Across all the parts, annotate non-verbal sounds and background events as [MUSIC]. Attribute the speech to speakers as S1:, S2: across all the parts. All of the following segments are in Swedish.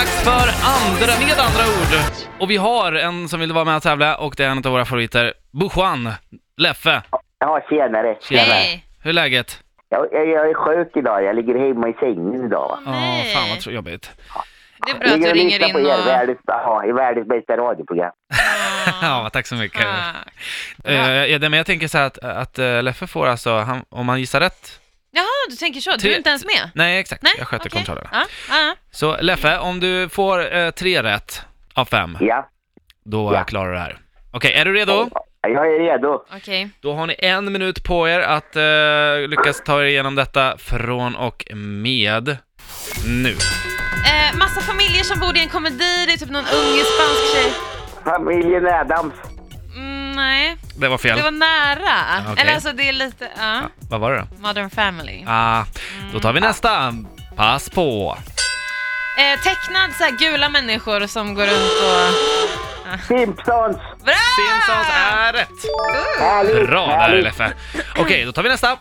S1: för andra, med andra ord. Och vi har en som vill vara med och tävla och det är en av våra favoriter. Bujuan, Leffe,
S2: Ja, tjenare.
S3: Hej!
S1: hur är läget?
S2: Jag, jag, jag är sjuk idag. Jag ligger hemma i sängen idag.
S3: Åh,
S1: Ja,
S3: nej.
S1: fan vad tro- jobbigt.
S3: Det är bra att
S2: ligger
S3: du
S2: och
S3: ringer
S2: lyssnar
S3: in
S2: på er.
S3: och...
S2: Världens, ja, i världens bästa radioprogram.
S1: [LAUGHS] Ja, tack så mycket.
S3: Ah.
S1: Eh, ja, det- men jag tänker så här att, att eh, Leffe får alltså, han, om han gissar rätt.
S3: Jaha, du tänker så. Du är
S1: Tre-
S3: inte ens med?
S1: Nej, exakt.
S3: Nej,
S1: jag sköter
S3: okej.
S1: kontrollen.
S3: Ja, ja.
S1: Så Leffe, om du får eh, tre rätt av fem,
S2: Ja,
S1: då
S2: Ja.
S1: klarar du det här. Okej, är du redo?
S2: jag är redo.
S3: okej.
S1: Då har ni en minut på er att eh, lyckas ta er igenom detta från och med nu.
S3: Eh, massa familjer som bor i en komedi, det är typ någon ung spansk tjej.
S2: Familjen Adams.
S3: Mm, nej,
S1: Det var fel.
S3: det var nära.
S1: Okej.
S3: Eller alltså det är lite, ja.
S1: Vad var det då?
S3: Modern Family.
S1: Ah, då tar vi nästa. Pass på.
S3: Eh, tecknad så här gula människor som går runt och...
S2: Simpsons.
S3: Bra!
S1: Simpsons är rätt.
S2: Härligt.
S1: Bra där
S2: härligt.
S1: Leffe. Okej, då tar vi nästa.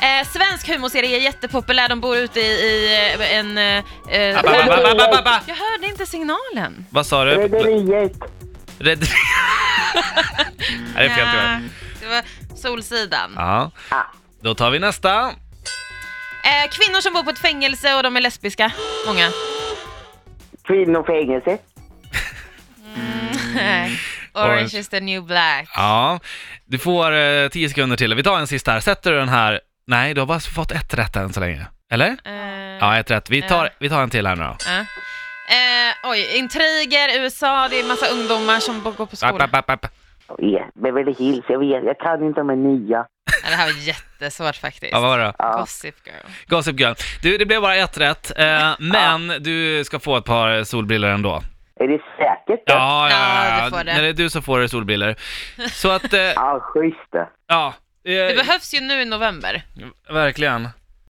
S3: Eh, svensk humorserie är jättepopulär, de bor ute i, i eh, en... eh, Eh,
S1: Ah, Ba, ba, ba, ba, ba, ba, ba.
S3: jag hörde inte signalen.
S1: Vad sa du?
S2: Rederiet.
S1: Red... [LAUGHS] Nej, det är fel tyvärr.
S3: Ja, det var Solsidan.
S1: Ja.
S2: Ah,
S1: Då tar vi nästa.
S3: Eh, kvinnor som bor på ett fängelse och de är lesbiska. Många.
S2: Kvinnofängelse.
S1: Mm.
S3: [LAUGHS] Orange is the new black.
S1: Ja, du får eh, tio sekunder till. Vi tar en sista här. Sätter du den här? Nej, du har bara fått ett rätt än så länge. Eller?
S3: Eh,
S1: Ja, ett rätt. Vi
S3: Ja.
S1: tar, vi tar en till här nu då.
S3: ja. eh, oj, intriger, USA, det är massa ungdomar som bo- går på
S1: App,
S3: skolan.
S1: app, app, app.
S2: Ja, Beverly Hills. Jag vet, jag kan inte de här nya.
S3: Ja, det här var jättesvårt faktiskt.
S1: Ja, vad var det?
S2: Ja.
S3: Gossip girl.
S1: Gossip Girl. Du, det blev bara ett rätt, eh, men du ska få ett par solbriller ändå.
S2: Är det säkert?
S1: Ja, ja,
S3: Ja,
S1: ja.
S3: du
S1: ja.
S3: får det.
S1: När det är du som får du solbriller. Så att, eh,
S2: Ja, schysst.
S1: ja. eh,
S3: Det behövs ju nu i november.
S1: Verkligen.